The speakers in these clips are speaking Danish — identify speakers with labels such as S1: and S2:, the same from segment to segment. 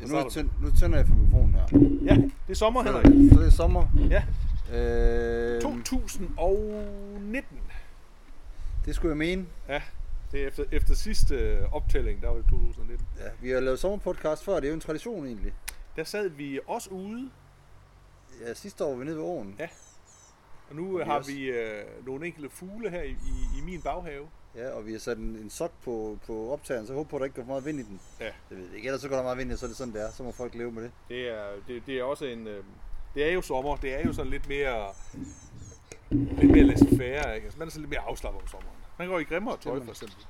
S1: Ja,
S2: starter
S1: nu,
S2: vi.
S1: tænd, nu tænder jeg for mikrofonen her.
S2: Ja, det er sommer, Henrik.
S1: Så det er sommer.
S2: Ja,
S1: Øh,
S2: 2019.
S1: det skulle jeg mene.
S2: Ja, det er efter, efter sidste øh, optælling, der var det 2019.
S1: Ja, vi har lavet sommerpodcast før, det er jo en tradition egentlig.
S2: Der sad vi også ude,
S1: Ja, sidste år var vi nede ved åen.
S2: Ja. og nu
S1: vi
S2: øh, har
S1: også.
S2: vi øh, nogle enkelte fugle her i, i, i min baghave.
S1: Ja, og vi har sat en, en sok på, på optageren, så jeg håber på, at der ikke går for meget vind i den.
S2: Ja.
S1: Det ved jeg ikke, ellers så går der meget vind i, så er det sådan, det er. Så må folk leve med det.
S2: Det er, det, det er også en... Øh, det er jo sommer, det er jo sådan lidt mere... Lidt mere laissez-faire, ikke? Altså, man er sådan lidt mere afslappet om sommeren. Man går i grimmere tøj, for eksempel.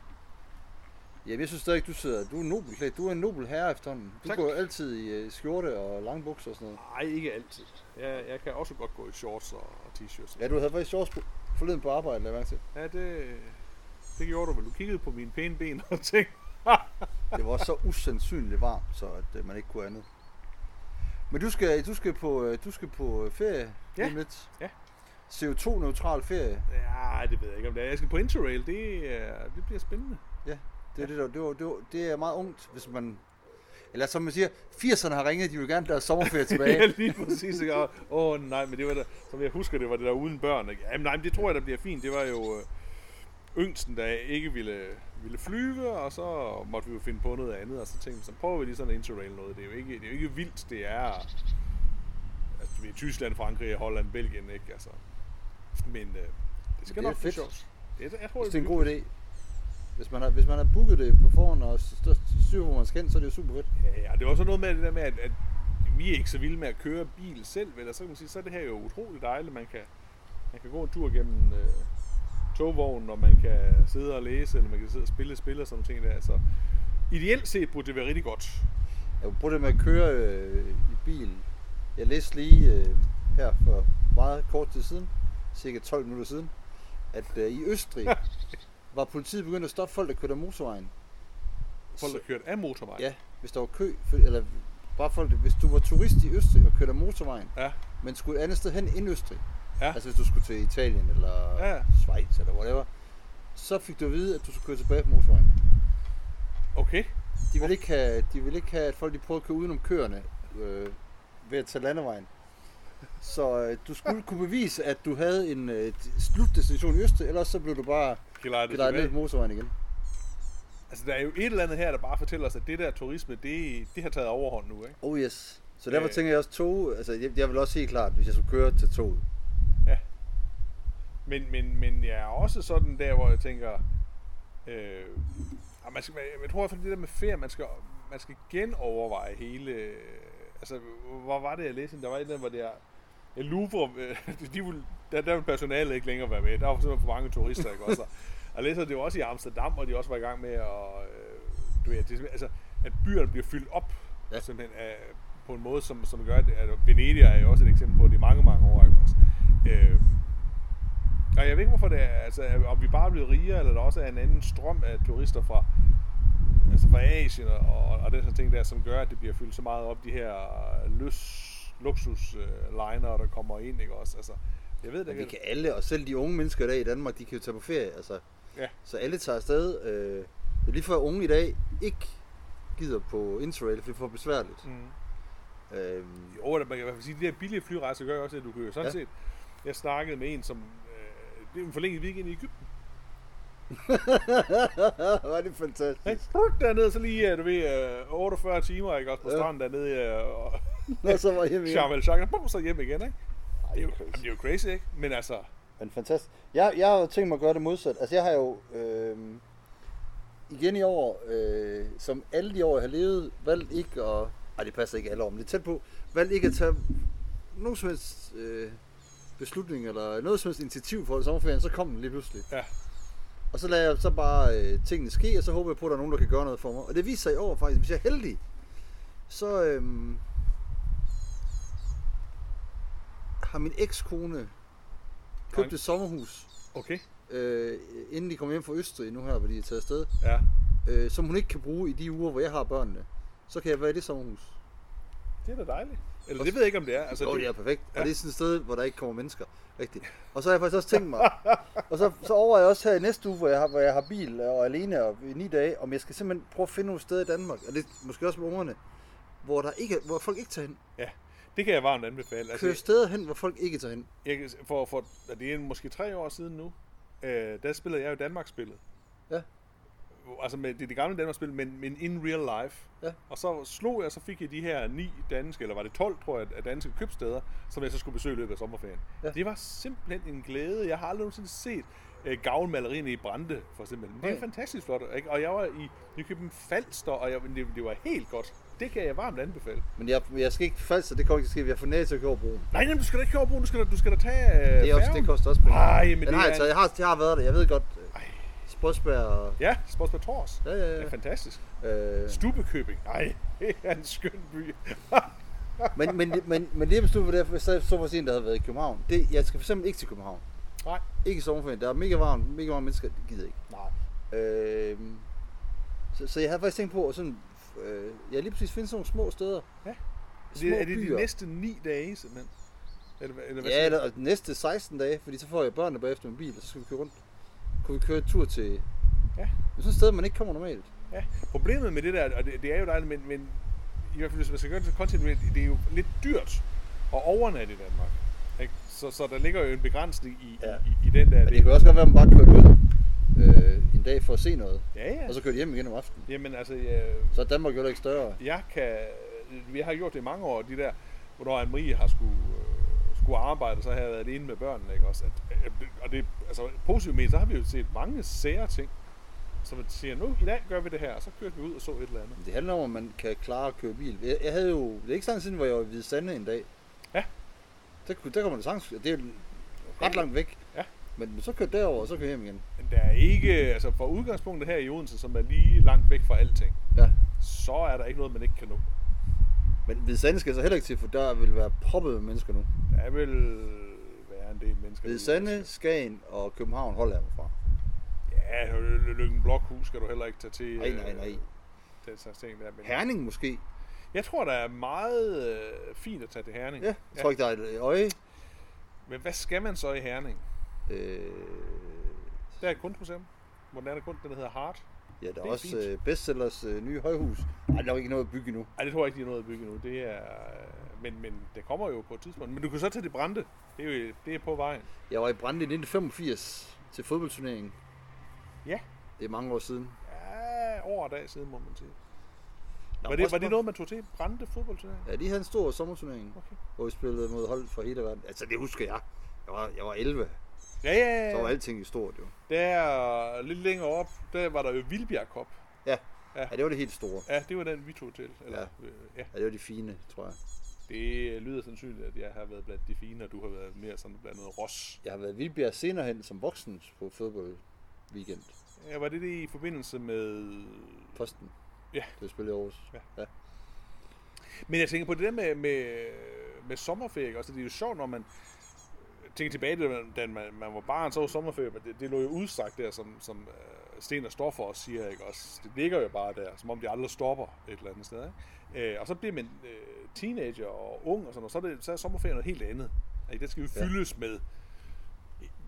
S1: Ja, jeg synes stadig, du sidder. Du er nobel klædt. Du er en nobel herre efterhånden. Du
S2: Tak.
S1: går jo altid i øh, skjorte og lange bukser og sådan noget.
S2: Nej, ikke altid. Jeg, jeg kan også godt gå i shorts og, og t-shirts.
S1: Ja, du havde faktisk shorts på, forleden på arbejde, lad mærke til.
S2: Ja, det, det gjorde du vel. Du kiggede på mine pæne ben og tænkte,
S1: Det var så usandsynligt varmt, så at øh, man ikke kunne andet. Men du skal, du skal, på, øh, du skal på øh, ferie
S2: Ja.
S1: lige om lidt.
S2: Ja.
S1: CO2-neutral ferie.
S2: ja, det ved jeg ikke om det er. Jeg skal på Interrail, det, er- det bliver spændende.
S1: Det er, det, der, det, var, det, var, det er meget ungt, hvis man... Eller som man siger, 80'erne har ringet, de vil gerne have deres sommerferie tilbage.
S2: Ja, lige præcis. ikke? Og- Åh oh, nej, men det var der, som jeg husker, det var det der uden børn. Ikke? Jamen nej, men det tror jeg, der bliver fint. Det var jo øh, yngsten, der ikke ville, ville flyve, og så måtte vi jo finde på noget andet. Og så tænkte vi, så prøver vi lige sådan en interrail noget. Det er jo ikke, det er jo ikke vildt, det er... Altså, vi er i Tyskland, Frankrig, Holland, Belgien, ikke? Altså, men øh, det skal
S1: det er
S2: nok blive
S1: fedt.
S2: sjovt. Det, er- jeg tror,
S1: Hvis det er en
S2: bliver-
S1: god idé. Hvis man har, hvis man har booket det på forhånd og størst styr på, hvor man skal hen, så er det jo super fedt.
S2: Ja, ja, det var så noget med det der med, at, at vi er ikke så vilde med at køre bil selv, vel? Og så kan man sige, så er det her jo utroligt dejligt. Man kan, man kan gå en tur gennem øh, togvognen, og man kan sidde og læse, eller man kan sidde og spille spil og sådan nogle ting der. Så ideelt set burde det være rigtig godt.
S1: Jeg prøver det med at køre øh, i bil. Jeg læste lige øh, her for meget kort tid siden, cirka 12 minutter siden, at øh, i Østrig var politiet begyndt at stoppe folk, der kørte af motorvejen.
S2: Folk, der kørte af motorvejen.
S1: Ja, hvis der var kø, for, eller bare folk, hvis du var turist i Østrig og kørte af motorvejen,
S2: Ja.
S1: men skulle et andet sted hen end Østrig,
S2: Ja.
S1: altså hvis du skulle til Italien eller
S2: Ja, ja.
S1: Schweiz eller whatever, så fik du at vide, at du skulle køre tilbage på motorvejen.
S2: Okay.
S1: De vil ikke have, de vil ikke have at folk de prøver at køre udenom køerne øh, ved at tage landevejen. Så øh, du skulle kunne bevise, at du havde en øh, slutdestination i Østrig, ellers så blev du bare
S2: Gelejt det
S1: drejet ned på
S2: tilbage.
S1: motorvejen igen.
S2: Altså, der er jo et eller andet her, der bare fortæller os, at det der turisme, det, det har taget overhånd nu, ikke?
S1: Oh yes. Så derfor
S2: Øh.
S1: tænker jeg også tog, altså jeg, jeg vil også helt klart, hvis jeg skulle køre til toget.
S2: Men, men, men jeg er også sådan der, hvor jeg tænker, øh, ah, man skal, jeg tror i hvert fald det der med ferie, man skal, man skal genoverveje hele, øh, altså hvor var det jeg læste, der var et eller andet, hvor det er, jeg Louvre, øh, de ville, der, der ville personalet ikke længere være med, der var simpelthen for mange turister, ikke også? Og jeg læser det jo også i Amsterdam, hvor de også var i gang med at, øh, du ved, at det, altså, at byerne bliver fyldt op,
S1: Ja.
S2: ja. simpelthen, af, på en måde, som, som gør, at, at Venedig er jo også et eksempel på det i mange, mange år, ikke også? Øh, og jeg ved ikke, hvorfor det er, altså, om vi bare er blevet rigere, eller der også er en anden strøm af turister fra, altså fra Asien og, og, og den slags ting der, som gør, at det bliver fyldt så meget op, de her øh, løs, luksusliner, der kommer ind, ikke også? Altså, jeg ved det
S1: Men vi
S2: ikke.
S1: kan alle, og selv de unge mennesker i dag i Danmark, de kan jo tage på ferie. Altså.
S2: Ja.
S1: Så alle tager afsted. Øh, det er lige før at unge i dag ikke gider på interrail, for det er for besværligt.
S2: Mm.
S1: Øhm,
S2: Jo, eller man kan i hvert fald sige, at de der billige flyrejser gør jo også, at du kan jo sådan
S1: Ja.
S2: ja. set... Jeg snakkede med en, som... Øh, det er en forlænget weekend i Ægypten.
S1: Hvor er det fantastisk.
S2: Ikke? Brut, Dernede, så lige, øh, du ved, øh, 48 timer, ikke? Også på
S1: Ja.
S2: stranden dernede, øh, og
S1: Nå, så var jeg med.
S2: Sharm el-Sheikh, og bum, så hjem igen, ikke?
S1: Ej,
S2: Det er, jo, jamen, det er jo crazy, ikke? Men altså,
S1: Men fantastisk. Jeg, jeg har jo tænkt mig at gøre det modsat. Altså, jeg har jo øh, igen i år, øh, som alle de år, jeg har levet, valgt ikke at... Ej, det passer ikke alle år, men det er tæt på. Valgt ikke at tage nogen som helst øh, beslutning eller noget som helst initiativ for sommerferien, så kom den lige pludselig.
S2: Ja.
S1: Og så lader jeg så bare øh, tingene ske, og så håber jeg på, at der er nogen, der kan gøre noget for mig. Og det viser sig i år faktisk, hvis jeg er heldig, så øh, har min ekskone købt
S2: Frank.
S1: et sommerhus,
S2: Okay.
S1: øh, inden de kom hjem fra Østrig nu her, hvor de er taget afsted,
S2: Ja.
S1: øh, som hun ikke kan bruge i de uger, hvor jeg har børnene. Så kan jeg være i det sommerhus.
S2: Det er da dejligt. Eller det ved jeg ikke, om det er. Altså,
S1: Så det,
S2: det,
S1: det er perfekt. Ja.
S2: ja.
S1: Og det er sådan et sted, hvor der ikke kommer mennesker. Rigtigt. Og så har jeg faktisk også tænkt mig, og så, så overvejer jeg også her i næste uge, hvor jeg har, hvor jeg har bil og er alene og i ni dage, om jeg skal simpelthen prøve at finde nogle steder i Danmark, og det er måske også med ungerne, hvor, der ikke, hvor folk ikke tager hen.
S2: Ja, det kan Altså, jeg varmt anbefale. Altså,
S1: Kør steder hen, hvor folk ikke tager hen.
S2: jeg, kan- for, for, og det er måske tre år siden nu, øh, der spillede jeg jo Danmarksspillet.
S1: Ja.
S2: Altså med det, er det gamle Danmarksspil, men, men in real life.
S1: Ja.
S2: Og så slog jeg, så fik jeg de her ni danske, eller var det 12, tror jeg, af danske købsteder, som jeg så skulle besøge i løbet af sommerferien.
S1: Ja.
S2: Det var simpelthen en glæde. Jeg har aldrig nogensinde set øh, gavlmalerierne i Brande, for eksempel. Men Det er
S1: Nej.
S2: fantastisk flot, ikke? Og jeg var i Nykøbing Falster, og jeg, det, det, var helt godt. Det kan jeg varmt anbefale.
S1: Men jeg, jeg skal ikke falde, så det kommer ikke til at ske. Jeg får næse til at køre broen.
S2: Nej, jamen, du skal da ikke køre over broen, du skal da, du skal da tage øh,
S1: Det, er også,
S2: færgen.
S1: det koster også penge.
S2: Ej, men
S1: Den
S2: det
S1: har jeg,
S2: er-
S1: taget. jeg, har, jeg har været der. Jeg ved godt,
S2: Ej.
S1: Sprøsberg og...
S2: Ja, Sportsbar Tors.
S1: Ja, ja, ja.
S2: Det er fantastisk.
S1: Øh,
S2: Stubekøbing. Nej, det er en skøn by.
S1: men, men, men, men lige besluttet derfor, så så var en, der havde været i København. Det, jeg skal for eksempel ikke til København.
S2: Nej.
S1: Ikke i sommerferien. Der er mega varmt, mega mange mennesker, det gider jeg ikke.
S2: Nej.
S1: Øh, så, så jeg havde faktisk tænkt på, at sådan, øh, jeg lige præcis finde sådan nogle små steder.
S2: Ja.
S1: Små
S2: Det, er det
S1: byer.
S2: de næste ni dage, simpelthen? Eller, hvad- eller hvad
S1: Ja,
S2: siger
S1: eller
S2: du?
S1: og de næste 16 dage, fordi så får jeg børnene bagefter med bil, og så skal vi køre rundt. Kunne vi køre en tur til... Det
S2: Ja.
S1: er sådan et sted, man ikke kommer normalt.
S2: ja. Problemet med det der, og det, det er jo dejligt, men, men i hvert fald, hvis man skal gøre det så kontinuerligt, det er jo lidt dyrt at overnatte i Danmark. Ikke? Så, så der ligger jo en begrænsning i,
S1: Ja.
S2: ja. i, i den der.
S1: Men det kan også godt være, at man bare kører ud øh, en dag for at se noget,
S2: Ja, ja.
S1: og så kører de hjem igen om aftenen.
S2: Jamen altså, jeg,
S1: Så er Danmark jo heller ikke større.
S2: jeg kan, vi har gjort det i mange år, de der, hvornår Anne-Marie har skulle, øh, skulle arbejde, så har jeg været alene med børnene, ikke også? At, at, og det, altså positivt men så har vi jo set mange sære ting, som man siger, nu i dag gør vi det her, og så kørte vi ud og så et eller andet.
S1: Men Det handler om, at man kan klare at køre bil. Jeg, jeg havde jo... Det er ikke sådan siden, hvor jeg var i Hvide Sande en dag.
S2: Ja.
S1: Der, kunne- der kommer det sagtens. Det er jo ret langt væk.
S2: Ja.
S1: Men så kørte derover og så kørte jeg hjem igen.
S2: Men der er ikke, altså fra udgangspunktet her i Odense, som er lige langt væk fra alting,
S1: Ja.
S2: så er der ikke noget, man ikke kan nå.
S1: Men Hvide Sande skal jeg så heller ikke til, for der vil være proppet med mennesker nu.
S2: Der vil være en del mennesker.
S1: Hvide
S2: derude,
S1: Sande,
S2: der skal-
S1: Skagen og København holder jeg mig fra.
S2: Ja, Lø- Løkken Blokhus skal du heller ikke tage til.
S1: Nej, nej, nej.
S2: øh, Den slags ting der. Men
S1: Herning måske?
S2: Jeg tror, der er meget øh, fint at tage til Herning.
S1: Ja, jeg tror ikke, der er et øje.
S2: Men hvad skal man så i Herning?
S1: Øh,
S2: Der er et kunstmuseum, hvor den er der kun, den der hedder Hart.
S1: ja, der er,
S2: Det er
S1: også
S2: fint.
S1: øh, bestsellers øh, nye højhus. Ej, der er jo ikke noget at bygge endnu.
S2: Ej, det tror jeg ikke, de er nået at bygge nu. Det er, øh, men, men det kommer jo på et tidspunkt. Men du kan så tage det brænde. Det er, jo, det er på vejen.
S1: Jeg var i Brande i 1985 til fodboldturneringen.
S2: Ja.
S1: Det er mange år siden.
S2: Ja, over en dag siden, må man sige.
S1: Der
S2: Var det,
S1: også
S2: var det
S1: mange-
S2: noget, man tog til? Brænde fodboldturnering?
S1: Ja, de havde en stor sommerturnering,
S2: Okay.
S1: hvor vi spillede mod hold fra hele verden. Altså, det husker jeg. Jeg var, jeg var 11.
S2: Ja, ja,
S1: Så var
S2: ja, ja.
S1: alting jo stort, jo.
S2: Der, lidt længere op, der var der jo Vildbjerg Cup.
S1: Ja.
S2: Ja.
S1: ja, det var det helt store.
S2: Ja, det var den, vi tog til. Eller, ja. Øh, ja.
S1: Ja, det var de fine, tror jeg.
S2: Det lyder sandsynligt, at jeg har været blandt de fine, og du har været mere sådan blandt noget ros.
S1: Jeg har været i Vildbjerg senere hen som voksen på fodboldweekend.
S2: Ja, var det det i forbindelse med...
S1: Posten.
S2: Ja.
S1: Det spillede i Aarhus.
S2: Ja.
S1: ja.
S2: Men jeg tænker på det der med, med, med sommerferie, ikke også det er jo sjovt, når man tænker tilbage, til, da man, man var barn, så var sommerferie, men det, det lå jo udstrakt der, som, som øh, Sten og Stoffer også siger, ikke også? Det ligger jo bare der, som om det aldrig stopper et eller andet sted, ikke? Øh, og så bliver man øh, teenager og ung og sådan noget, så er, det, så er sommerferien noget helt andet. Ikke? Det skal jo
S1: Ja.
S2: fyldes med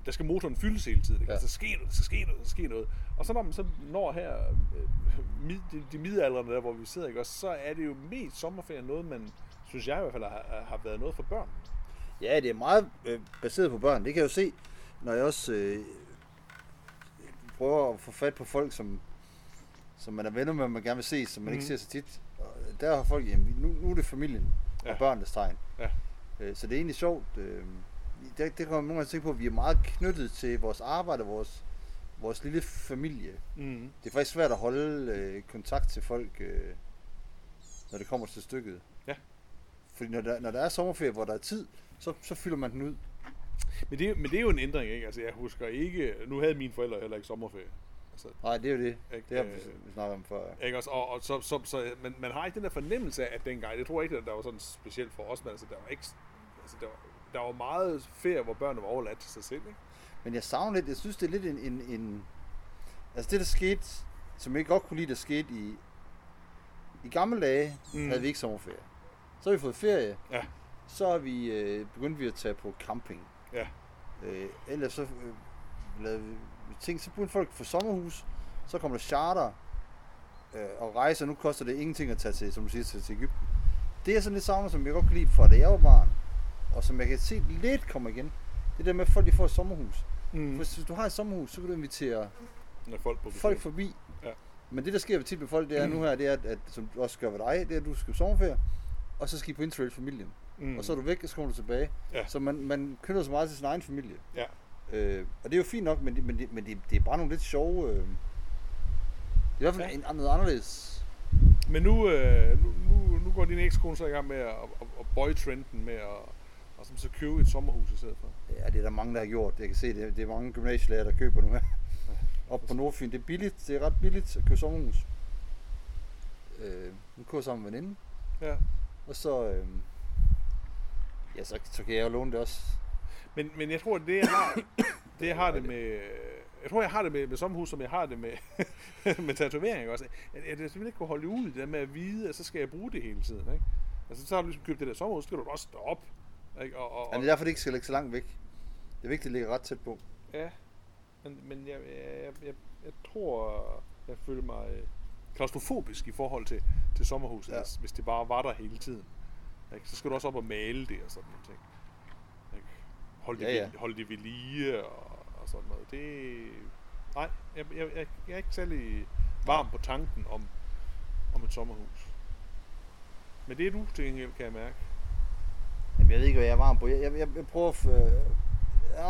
S2: der skal motoren fyldes hele tiden. Ikke?
S1: Ja.
S2: Ja. Så sker noget, så sker noget, så sker noget. Og så når man så når her, øh, mid, de, de midalderne der, hvor vi sidder, ikke? Også, så er det jo mest sommerferie noget, man, synes jeg i hvert fald, har, har været noget for børn.
S1: Ja, det er meget øh, baseret på børn. Det kan jeg jo se, når jeg også øh, prøver at få fat på folk, som, som man er venner med, og man gerne vil se, som man mm. ikke
S2: Mhm.
S1: ser så tit. Og øh, der har folk, jamen, nu, nu er det familien ja. og
S2: Ja.
S1: børnenes tegn.
S2: Ja.
S1: Øh, så det er egentlig sjovt. Øh, det, det kommer man nogle gange til at tænke på, at vi er meget knyttet til vores arbejde og vores, vores lille familie.
S2: Mm.
S1: Det er faktisk svært at holde øh, kontakt til folk, øh, når det kommer til stykket.
S2: Ja.
S1: Fordi når der, når der er sommerferie, hvor der er tid, så, så fylder man den ud.
S2: Men, det, men det er jo en ændring, ikke? Altså, jeg husker ikke... Nu havde mine forældre heller ikke sommerferie. Altså,
S1: Nej, det er jo det.
S2: Ikke,
S1: Det har
S2: øh,
S1: vi, vi snakket om før.
S2: ikke også? Og, og så, så, så man, man har ikke den der fornemmelse af, at dengang... Det tror jeg ikke, at der var sådan specielt for os, men altså, der var ikke... Altså, der var, der var meget ferie, hvor børnene var overladt til sig selv, ikke?
S1: Men jeg savner lidt, jeg synes, det er lidt en, en, en... Altså det, der skete, som jeg godt kunne lide, der skete i... I gamle dage mm.
S2: Mm.
S1: havde vi ikke sommerferie. Så har vi fået ferie.
S2: Ja.
S1: Så har vi, øh, begyndte vi at tage på camping.
S2: Ja.
S1: Øh, ellers så øh, lavede vi ting, så begyndte folk at få sommerhus, så kom der charter øh, og rejser. Nu koster det ingenting at tage til, som du siger, til, til Ægypten. Det jeg sådan lidt savner, som jeg godt kan lide fra da jeg var barn, og som jeg kan se lidt kommer igen, det der med, at folk de får et sommerhus. Mm. Hvis hvis du har et sommerhus, så kan du invitere
S2: Når folk på besøg.
S1: folk forbi.
S2: Ja.
S1: Men det, der sker tit med folk, det er nu her, det er, at, at som du også gør ved dig, det er, at du skal på sommerferie, og så skal I på interrail familien.
S2: Mm.
S1: Mm. Og så er du væk, og så kommer du tilbage.
S2: Ja.
S1: Så man, man knytter sig meget til sin egen familie.
S2: Ja.
S1: Øh, og det er jo fint nok, men det, men det, men det, det er bare nogle lidt sjove... Øh, det er i hvert fald
S2: Ja.
S1: ja. en, noget anderledes.
S2: Men nu, øh, nu, nu, nu går din ekskone så i gang med at, at, at bøje trenden med at og sådan, så købe et sommerhus i stedet for.
S1: Ja, det er der mange, der har gjort. Jeg kan se, det, det er mange gymnasielærer, der køber nu her. Op på Nordfyn. Det er billigt. Det er ret billigt at købe sommerhus. Øh, nu kører jeg sammen med en veninde.
S2: Ja.
S1: Og så... Øh, ja, så, så kan jeg jo låne det også.
S2: Men, men jeg tror, det jeg har det, jeg har det
S1: Det
S2: med... Jeg tror, jeg har det med, med sommerhus, som jeg har det med, med tatovering også. At, at jeg simpelthen ikke kunne holde ud det der med at vide, at så skal jeg bruge det hele tiden. Ikke? Altså, så har du ligesom købt det der sommerhus, så skal du da også stå op. Ikke? Og, og,
S1: Men det
S2: og,
S1: er derfor, det ikke skal ligge så langt væk. Det er vigtigt, at det ligger ret tæt på.
S2: ja. Men, men jeg, jeg, jeg, jeg, jeg tror, jeg føler mig øh, klaustrofobisk i forhold til, til sommerhuset, ja.
S1: Ja.
S2: hvis, hvis det bare var der hele tiden. Ikke? Så skal du også op og male det og sådan nogle ting. Ikke? Hold, det
S1: Ja,
S2: ja, ja.
S1: ja.
S2: Ved, hold det ved lige og, og sådan noget. Det, nej, jeg, jeg, jeg, jeg er ikke særlig varm på tanken om, om et sommerhus. Men det er du til gengæld, kan jeg mærke.
S1: Jamen, jeg ved ikke, hvad jeg er varm på. Jeg, jeg, jeg, jeg prøver at... Øh,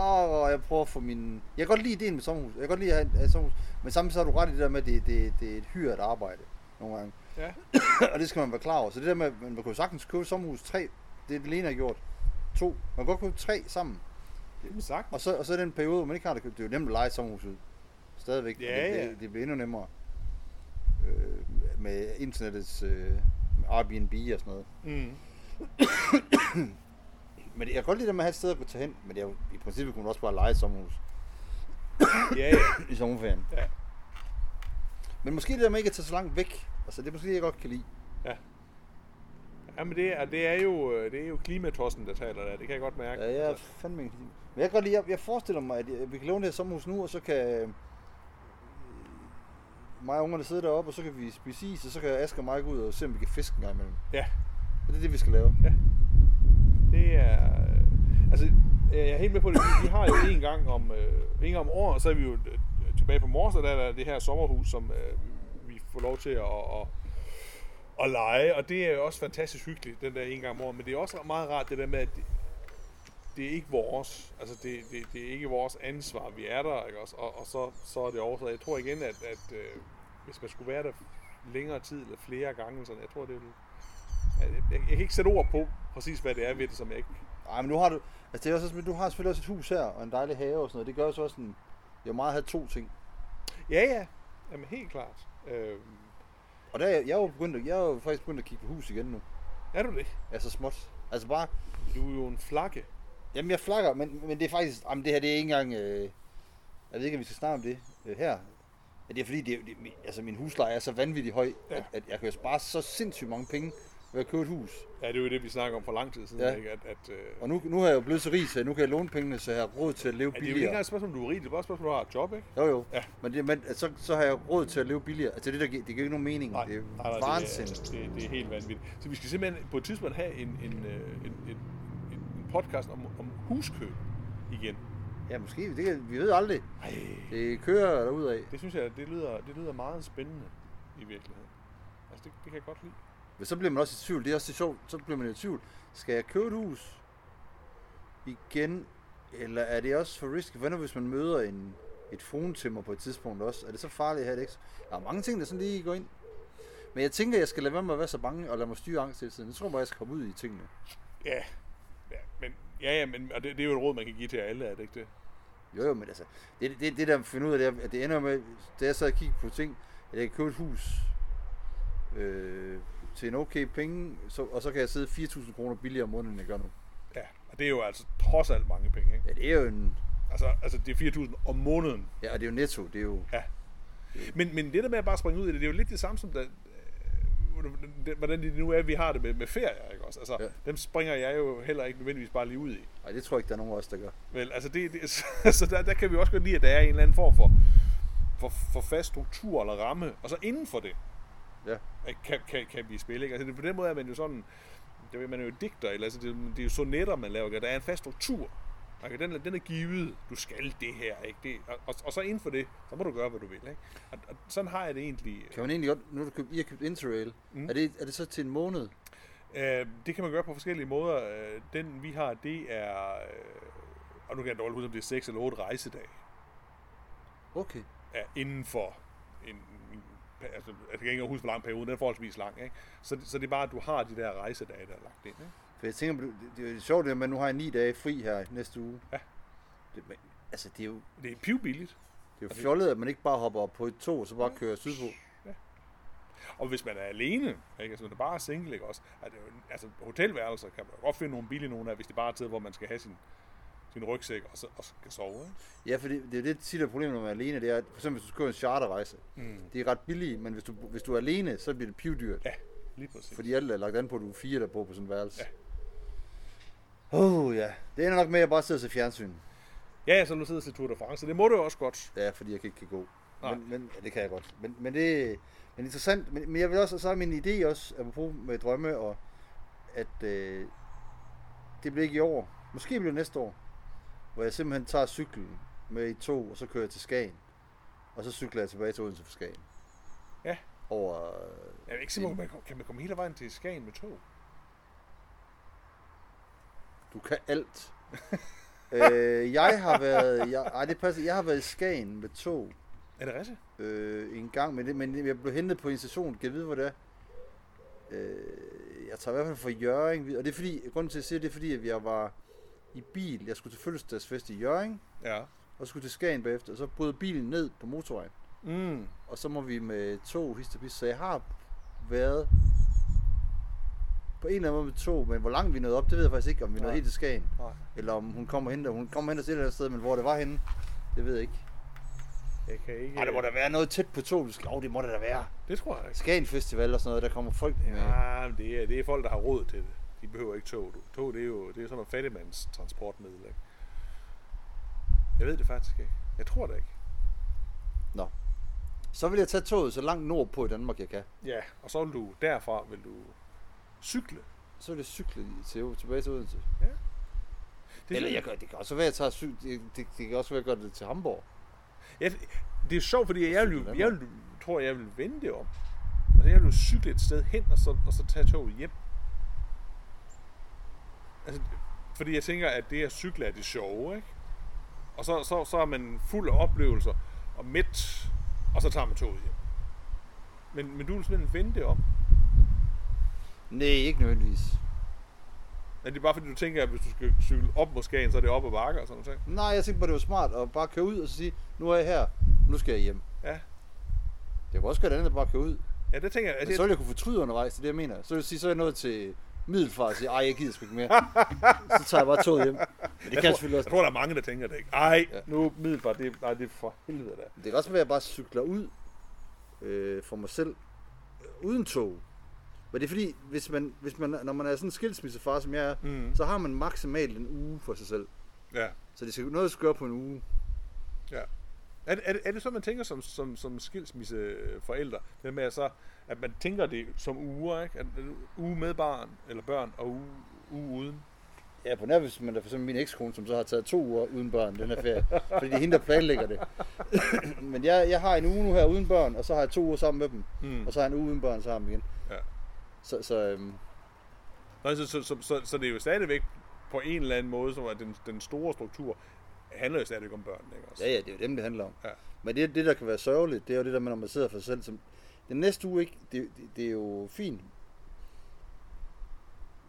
S1: åh, jeg prøver at få min... Jeg kan godt lide ideen med sommerhus. Jeg kan godt lide at have et- have et sommerhus. Men samtidig så har du ret i det der med, at det, det, det er et hyret arbejde nogle gange.
S2: Ja.
S1: og det skal man være klar over. Så det der med, at man kunne sagtens købe et sommerhus tre, det er det Lena har gjort. To. Man kan godt købe tre sammen.
S2: Jamen sagt.
S1: Og så, og så den periode, hvor man ikke har det købt. Det er jo nemt at lege et sommerhus ud. Stadigvæk. men
S2: Ja,
S1: det,
S2: ja.
S1: Det, det bliver endnu nemmere. Øh, med internettets øh, med Airbnb og sådan noget.
S2: Mm.
S1: Men jeg kan godt lide det med at have et sted at gå til hen, men det er jo, i princippet kunne man også bare lege et sommerhus
S2: Ja, ja.
S1: i sommerferien.
S2: Ja.
S1: Men måske det der med ikke at tage så langt væk, altså det er måske det, jeg godt kan lide.
S2: Jamen det er, det er jo, øh, det er jo klimatossen, der taler der. Det kan jeg godt mærke.
S1: Ja, jeg er
S2: Altså,
S1: fandme ikke Men jeg kan godt lide, jeg, jeg forestiller mig, at jeg, vi kan låne det her sommerhus nu, og så kan øh, mig og ungerne sidde deroppe, og så kan vi spise is, og så kan Asger og mig gå ud og se, om vi kan fiske en gang imellem.
S2: ja.
S1: Og det er det, vi skal lave.
S2: Ja. Det er... øh, Altså, øh, jeg er helt med på det. Vi- Vi har jo en gang om, øh, en gang om året, og så er vi jo øh, tilbage på Mors, og der er der det her sommerhus, som øh, vi får lov til at, at, at lege. Og det er jo også fantastisk hyggeligt, den der en gang om året. Men det er også meget rart det der med, at det, det er ikke vores. Altså, det, det, det er ikke vores ansvar. Vi er der, ikke også? Og, og så, så er det over. Så jeg tror igen, at, at øh, hvis man skulle være der længere tid eller flere gange, sådan, jeg tror, det ville jeg, jeg, jeg kan ikke sætte ord på præcis, hvad det er ved det, som jeg ikke...
S1: Ej, men nu har du, altså det er også, sådan, du har selvfølgelig også et hus her, og en dejlig have og sådan noget. Det gør jo så også sådan, jeg vil meget have to ting.
S2: Ja, ja. Jamen, helt klart. Øh,
S1: Og der, er jeg, jeg, er jo begyndt, at- jeg er jo faktisk begyndt at kigge på hus igen nu.
S2: er du det?
S1: Altså småt. Altså bare,
S2: Du er jo en flakke.
S1: Jamen, jeg flakker, men, men det er faktisk... Jamen, det her, det er ikke engang... Øh, jeg ved ikke, om vi skal snakke om det øh, her. Men det er fordi, det, er- det, min- altså, min husleje er så vanvittigt høj,
S2: Ja.
S1: ja. at, at, jeg kan jo spare så sindssygt mange penge ved at købe et hus.
S2: Ja, det er jo det, vi snakker om for lang tid siden, ja.
S1: Ja.
S2: ikke? At, at, øh,
S1: Og nu, nu har jeg jo blevet så rig, så nu kan jeg låne pengene, så jeg har råd til at leve
S2: ja, det er jo ikke engang
S1: billigere.
S2: et spørgsmål, om du er rig. Det er bare et spørgsmål, om du har et job, ikke?
S1: Jo, jo.
S2: Ja.
S1: Ja. Men, det, men altså, så, så har jeg råd til at leve billigere. Altså, det, der, gi- det giver ikke nogen mening. det er vansinnigt.
S2: Det, er- det, det er helt vanvittigt. Så vi skal simpelthen på et tidspunkt have en, en, øh, en, en, en, en podcast om, om huskøb igen.
S1: Ja, måske. Det, kan- vi ved aldrig.
S2: Ej,
S1: Det kører derudad.
S2: det synes jeg, det lyder, det lyder meget spændende i virkeligheden. Altså, det, det kan jeg godt lide.
S1: Men så bliver man også i tvivl. Det er også det sjovt. Så bliver man i tvivl. Skal jeg købe et hus igen? Eller er det også for risky? Hvad nu, hvis man møder en, et fruentimmer på et tidspunkt også? Er det så farligt at have det ikke? Der er mange ting, der sådan lige går ind. Men jeg tænker, jeg skal lade være med at være så bange og lade mig styre angst hele tiden. Jeg tror bare, jeg skal komme ud i tingene.
S2: Ja, ja men, ja, ja, men og det, det er jo et råd, man kan give til alle, er det ikke det?
S1: Jo, jo, men altså, det, det, det der finder ud af, det er, at det ender med, da jeg sad og kiggede på ting, at jeg kan købe et hus øh, til en okay penge, så, og så kan jeg sidde 4.000 kroner billigere om måneden, end jeg gør nu.
S2: Ja, og det er jo altså trods alt mange penge, ikke?
S1: Ja, det er jo en,
S2: Altså, altså det er 4.000 om måneden.
S1: Ja, og det er jo netto, det er jo...
S2: Ja. Men, men det der med at bare springe ud i det, det er jo lidt det samme som, da, øh, hvordan det nu er, vi har det med, med ferier, ikke også? Altså, ja.
S1: Ja.
S2: dem springer jeg jo heller ikke nødvendigvis bare lige ud i.
S1: Ej, det tror jeg ikke, der er nogen af os, der gør.
S2: Vel, altså det, det så, så der, der kan vi også godt lide, at der er en eller anden form for, for, for fast struktur eller ramme, og så inden for det,
S1: Ja.
S2: ikke, kan, kan, kan vi spille. Ikke? Altså, det, på den måde er man jo sådan, det ved man er jo digter, eller altså, det, det er jo sonetter, man laver. ikke? Der er en fast struktur. Okay, den, er, den er givet, du skal det her, ikke? Det, og, og, og, så inden for det, så må du gøre, hvad du vil, ikke? Og, og sådan har jeg det egentlig.
S1: Kan man egentlig godt, nu har du købt, I har købt Interrail,
S2: Mm.
S1: mm. er, det, er det så til en måned?
S2: Øh, det kan man gøre på forskellige måder. Øh, Den vi har, det er... øh, Og nu kan jeg dårligt huske, om det er 6 eller 8 rejsedage.
S1: Okay.
S2: Er inden for en... en- Altså, jeg kan ikke engang huske, hvor lang periode. Den er forholdsvis lang, ikke? Så, så det er bare, at du har de der rejsedage, der er lagt ind, ikke?
S1: For jeg tænker, det, det er jo sjovt, at man nu har jeg ni dage fri her i næste uge.
S2: Ja.
S1: Det, men, altså, det er jo,
S2: Det er pivbilligt.
S1: det er jo fjollet, at man ikke bare hopper op på et tog, og så bare kører sydpå.
S2: Og hvis man er alene, ikke? Altså, hvis man bare er single, ikke også? Er det jo, en- altså, hotelværelser kan man jo godt finde nogle billige nogle af, hvis det bare er et sted, hvor man skal have sin, sin rygsæk og, så, og skal sove, ikke?
S1: Ja, for det, det er jo det tit er problemet, når man er alene, det er, at for eksempel hvis du kører en charterrejse,
S2: Mm.
S1: det er ret billigt, men hvis du, hvis du er alene, så bliver det pivdyrt.
S2: Ja, lige præcis.
S1: Fordi alt er lagt an på, at du er fire, der bor på sådan en værelse. Ja. Oh, ja. Det ender nok med, at jeg bare sidder og ser fjernsyn.
S2: Ja, ja, så nu sidder jeg til Tour de France. Det må du jo også godt.
S1: Ja, fordi jeg kan ikke kan gå.
S2: Nej.
S1: Men, men, ja, det kan jeg godt. Men, men det men interessant. Men, men jeg vil også, så er min idé også, apropos med drømme, og at øh, det bliver ikke i år. Måske bliver det næste år. Hvor jeg simpelthen tager cyklen med i tog, og så kører jeg til Skagen. Og så cykler jeg tilbage til Odense fra Skagen.
S2: Ja.
S1: Over... øh,
S2: Jeg er ikke sikker på, man kan- kan man komme hele vejen til Skagen med tog?
S1: Du kan alt. øh, jeg har været... Jeg, ej, det passer. Jeg har været i Skagen med tog.
S2: Er det rigtigt?
S1: øh, en gang, men, det, men jeg blev hentet på en station. Kan jeg vide, hvor det er? Øh, jeg tager i hvert fald fra Jøring. vid- Og det er fordi, grunden til, at jeg siger det, det er fordi, at jeg var i bil. Jeg skulle til fødselsdagsfest i Jøring,
S2: Ja.
S1: og skulle til Skagen bagefter, og så brød bilen ned på motorvejen.
S2: Mm.
S1: Og så må vi med tog, hist og pist. Så jeg har været på en eller anden måde med tog, men hvor langt vi nåede op, det ved jeg faktisk ikke, om vi nåede
S2: Nej.
S1: helt til Skagen.
S2: Nej.
S1: Eller om hun kommer hen, hun kommer hen til et eller andet sted, men hvor det var henne, det ved jeg ikke.
S2: Jeg kan ikke...
S1: Ej, der må da være noget tæt på tog, du skal. Åh, oh, det må der da være.
S2: Det tror jeg ikke.
S1: Skagen Festival og sådan noget, der kommer folk med.
S2: Ja, men det er, det er folk, der har råd til det. De behøver ikke tog. Du. Tog, det er jo det er sådan noget fattigmands transportmiddel, ikke? Jeg ved det faktisk ikke. Jeg tror det ikke.
S1: Så vil jeg tage toget så langt nordpå i Danmark, jeg kan.
S2: Ja, og så vil du derfra vil du cykle.
S1: Så vil jeg cykle til, tilbage til Odense.
S2: Det
S1: Det
S2: er
S1: Eller
S2: sådan-
S1: jeg gør, det kan også være, at jeg tager cyk, det, det, det, kan også være, at jeg gør det til Hamburg.
S2: Ja, det- det er sjovt, fordi jeg, vil, jo-
S1: Cykle
S2: jeg vil, tror, jeg vil vende det om. Altså, jeg vil jo cykle et sted hen, og så, og så tage toget hjem. Altså, fordi jeg tænker, at det at cykle er det sjove, ikke? Og så, så, så er man fuld af oplevelser og midt, og så tager man toget hjem. Men, men du vil simpelthen vende det om.
S1: Nej, ikke nødvendigvis.
S2: Er det bare fordi, du tænker, at hvis du skal cykle op mod Skagen, så er det op ad bakker og sådan noget?
S1: Nej, jeg tænkte bare, det var smart at bare køre ud og så sige, nu er jeg her, nu skal jeg hjem.
S2: Ja.
S1: Det kunne også gøre det andet, at bare køre ud.
S2: Ja, det tænker jeg.
S1: Men
S2: Altså,
S1: så
S2: jeg
S1: ville jeg kunne fortryde undervejs, det er det, jeg mener. Så vil jeg sige, så er jeg nået til Middelfart og sige, ej, jeg gider sgu ikke mere. så tager jeg bare toget hjem. Men det kan jeg
S2: jeg, tror,
S1: selvfølgelig
S2: jeg
S1: også.
S2: tror, der er mange, der tænker det ikke. Ej,
S1: Ja.
S2: nu middelbart, det, nej, det er for helvede da.
S1: Det kan også være, at jeg bare cykler ud øh, for mig selv, øh, uden tog. Men det er fordi, hvis man, hvis man, når man er sådan en skilsmissefar, som jeg er,
S2: Mm.
S1: så har man maksimalt en uge for sig selv.
S2: Ja.
S1: Så det skal noget, der skal gøre på en uge.
S2: Er det, er, det, er det så, man tænker som, som, som skilsmisseforældre? Det med, at, så, at man tænker det som uger, ikke? At, at uge med barn, eller børn, og uge, uge uden.
S1: Ja, på nær, hvis man er for eksempel min ekskone, som så har taget to uger uden børn den her ferie. fordi det er hende, der planlægger det. Men jeg, jeg har en uge nu her uden børn, og så har jeg to uger sammen med dem.
S2: Mm.
S1: Og så har jeg en uge uden børn sammen igen.
S2: Ja.
S1: Så, så øhm,
S2: Nå, så, så, så, så, så det er jo stadigvæk på en eller anden måde, som at den, den store struktur handler jo stadigvæk om børn, ikke også?
S1: Ja, ja, det er jo dem, det handler om.
S2: Ja.
S1: Ja. Men det, det, der kan være sørgeligt, det er jo det der med, når man sidder for sig selv. Som, den næste uge, ikke, det, det, det er jo fint.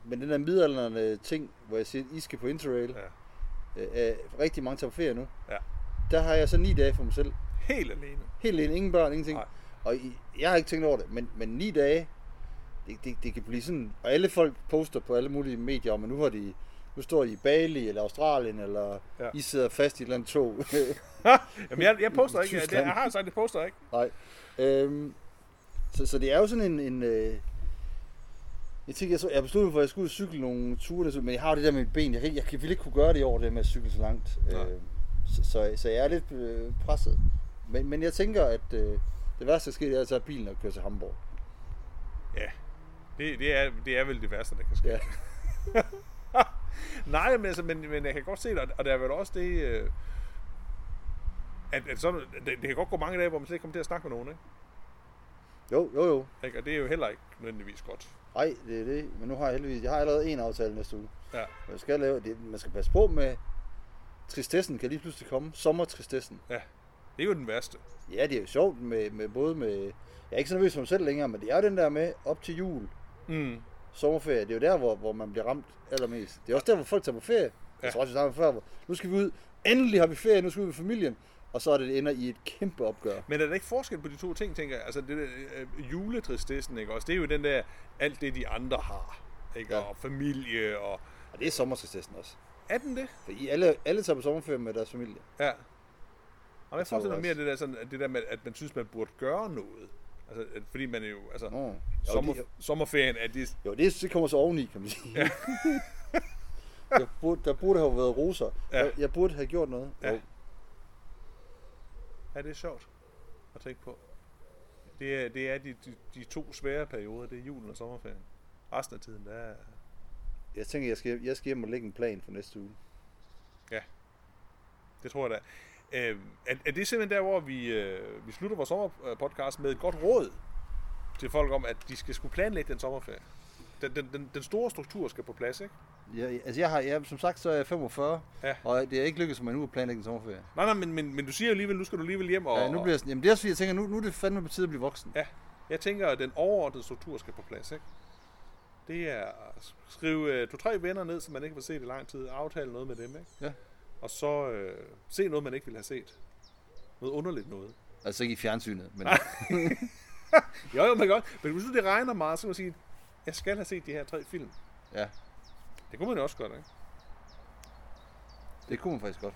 S1: Men den der midalderne ting, hvor jeg siger, I skal på Interrail,
S2: ja.
S1: ja. øh, rigtig mange tager på ferie nu.
S2: Ja.
S1: Der har jeg så ni dage for mig selv.
S2: Helt alene.
S1: Helt alene, ingen børn, ingenting.
S2: Nej.
S1: Nej. Og I, jeg har ikke tænkt over det, men, men ni dage, det, det, det kan blive sådan... Og alle folk poster på alle mulige medier, om at nu har de... Nu står de i Bali eller Australien, eller
S2: Ja.
S1: ja. I sidder fast i et eller andet tog.
S2: Jamen, jeg, jeg poster ikke. Jeg, det,
S1: Tyskland.
S2: jeg har sagt, det poster jeg ikke.
S1: Nej. Øhm, så, så det er jo sådan en... en øh, jeg tænker, jeg, så, jeg besluttede mig for, at jeg skulle ud og cykle nogle ture, der- men jeg har jo det der med mit ben. Jeg, kan ikke- jeg, kan- ville ikke kunne gøre det i år, det der med at cykle så langt.
S2: Nej.
S1: Øh, så, så, så jeg er lidt øh, presset. Men, men jeg tænker, at øh, det værste, der sker, det er at tage bilen og køre til Hamburg.
S2: Ja. Det, det, er, det er vel det værste, der kan ske.
S1: Ja.
S2: Nej, men, altså, men, men jeg kan godt se det, og- og der er vel også det, øh, at, at sådan, det, det kan godt gå mange dage, hvor man slet ikke kommer til at snakke med nogen, ikke?
S1: Jo, jo, jo.
S2: ikke? Og det er jo heller ikke nødvendigvis godt.
S1: Nej, det er det. Men nu har jeg heldigvis, jeg har allerede en aftale næste uge.
S2: Ja,
S1: Men Jeg skal lave, det, man skal passe på med, tristessen kan lige pludselig komme. Sommertristessen.
S2: det er jo den værste.
S1: Ja, det er jo sjovt med, med både med, jeg er ikke så nervøs for mig selv længere, men det er jo den der med op til jul,
S2: Mm.
S1: sommerferie, det er jo der, hvor, hvor man bliver ramt allermest. Det er også der, hvor folk tager på ferie.
S2: Ja.
S1: Jeg tror også, vi snakker om før, hvor nu skal vi ud, endelig har vi ferie, nu skal vi ud med familien. Og så er det, det ender i et kæmpe opgør.
S2: Men er der ikke forskel på de to ting, tænker jeg? Altså, det der, øh, juletristessen, ikke også? Det er jo den der, alt det, de andre har, ikke?
S1: Ja.
S2: Og familie, og...
S1: Og det er sommertristessen også.
S2: Er den det?
S1: For I alle, alle tager på sommerferie med deres familie.
S2: Ja. Og jeg
S1: tror
S2: forestiller mig mere
S1: også-
S2: det der, sådan, at det der med, at man synes, man burde gøre noget. Altså, at, fordi man er jo, altså,
S1: Nå. Jo,
S2: sommer,
S1: det,
S2: sommerferien er det...
S1: jo det, det kommer så oveni, kan man sige. Ja. jeg burde, der burde have været roser.
S2: Ja.
S1: Ja. Jeg, jeg burde have gjort noget.
S2: Ja.
S1: Jo.
S2: Ja, det er sjovt at tænke på. Det er, det er de, de, de to svære perioder, det er julen og sommerferien. Resten af tiden, der er...
S1: Jeg tænker, jeg skal, jeg skal hjem og lægge en plan for næste uge.
S2: Det tror jeg da. Øh, er, er det simpelthen der, hvor vi, øh, vi slutter vores sommerpodcast med et godt råd til folk om, at de skal skulle planlægge den sommerferie? Den, den, den, den store struktur skal på plads, ikke?
S1: Ja, altså jeg har, ja, som sagt, så er jeg 45,
S2: Ja.
S1: og det er ikke lykkedes mig nu at planlægge en sommerferie.
S2: Nej, nej, men, men, men du siger jo alligevel, nu skal du alligevel hjem og...
S1: Ja, nu bliver jeg sådan, jamen det er også fordi, jeg tænker, nu, nu er det fandme på tide at blive voksen.
S2: Ja, jeg tænker, at den overordnede struktur skal på plads, ikke? Det er at skrive øh, to-tre venner ned, som man ikke vil se det i lang tid, aftale noget med dem, ikke?
S1: Ja.
S2: Og så øh, se noget, man ikke ville have set. Noget underligt noget.
S1: Altså ikke i fjernsynet, men
S2: Jo, jo, man kan godt. Men hvis nu det regner meget, så kan man sige, jeg skal have set de her tre film.
S1: ja,
S2: Det kunne man jo også godt, ikke?
S1: det kunne man faktisk godt.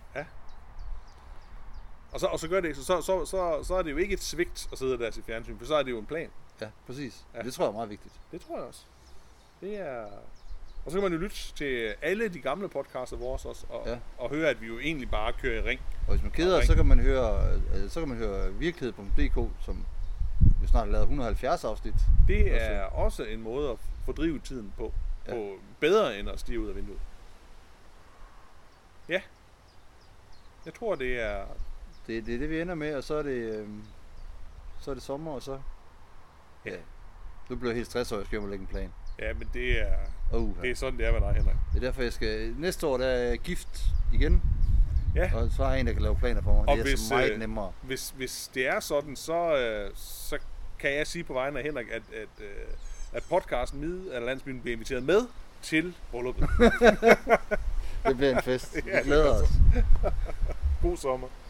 S2: Og så, og så gør det, så, så, så, så, så er det jo ikke et svigt at sidde der og se fjernsyn, for så er det jo en plan.
S1: Ja, præcis.
S2: Ja.
S1: Ja. Det tror jeg er meget vigtigt.
S2: Det tror jeg også. Det er... Og så kan man jo lytte til alle de gamle podcasts af vores også, og, ja.
S1: Ja.
S2: og høre, at vi jo egentlig bare kører i ring.
S1: Og hvis man keder,
S2: Og
S1: så kan man høre, øh, så kan man høre virkelighed.dk, som jo snart har lavet 170 afsnit.
S2: Det
S1: Også.
S2: er også en måde at fordrive tiden på, ja.
S1: Ja.
S2: på bedre end at stige ud af vinduet. Ja. Jeg tror, det er...
S1: Det, det er det, vi ender med, og så er det, øhm, så er det sommer, og så...
S2: Ja.
S1: Ja. Nu bliver jeg helt stresset, og jeg skal hjem og lægge en plan.
S2: Ja, men det er,
S1: Oh,
S2: det er sådan, det er med dig, Henrik.
S1: Det er derfor, jeg skal... Næste år, der er jeg gift igen.
S2: Ja.
S1: Og så har jeg en, der kan lave planer for mig.
S2: Og
S1: det er
S2: hvis,
S1: så meget
S2: øh,
S1: nemmere.
S2: Hvis, hvis det er sådan, så, øh, så kan jeg sige på vegne af Henrik, at, at, øh, at podcasten Mid eller Landsbyen bliver inviteret med til brylluppet.
S1: Det bliver en fest. Vi
S2: det
S1: glæder
S2: gør
S1: os.
S2: God sommer.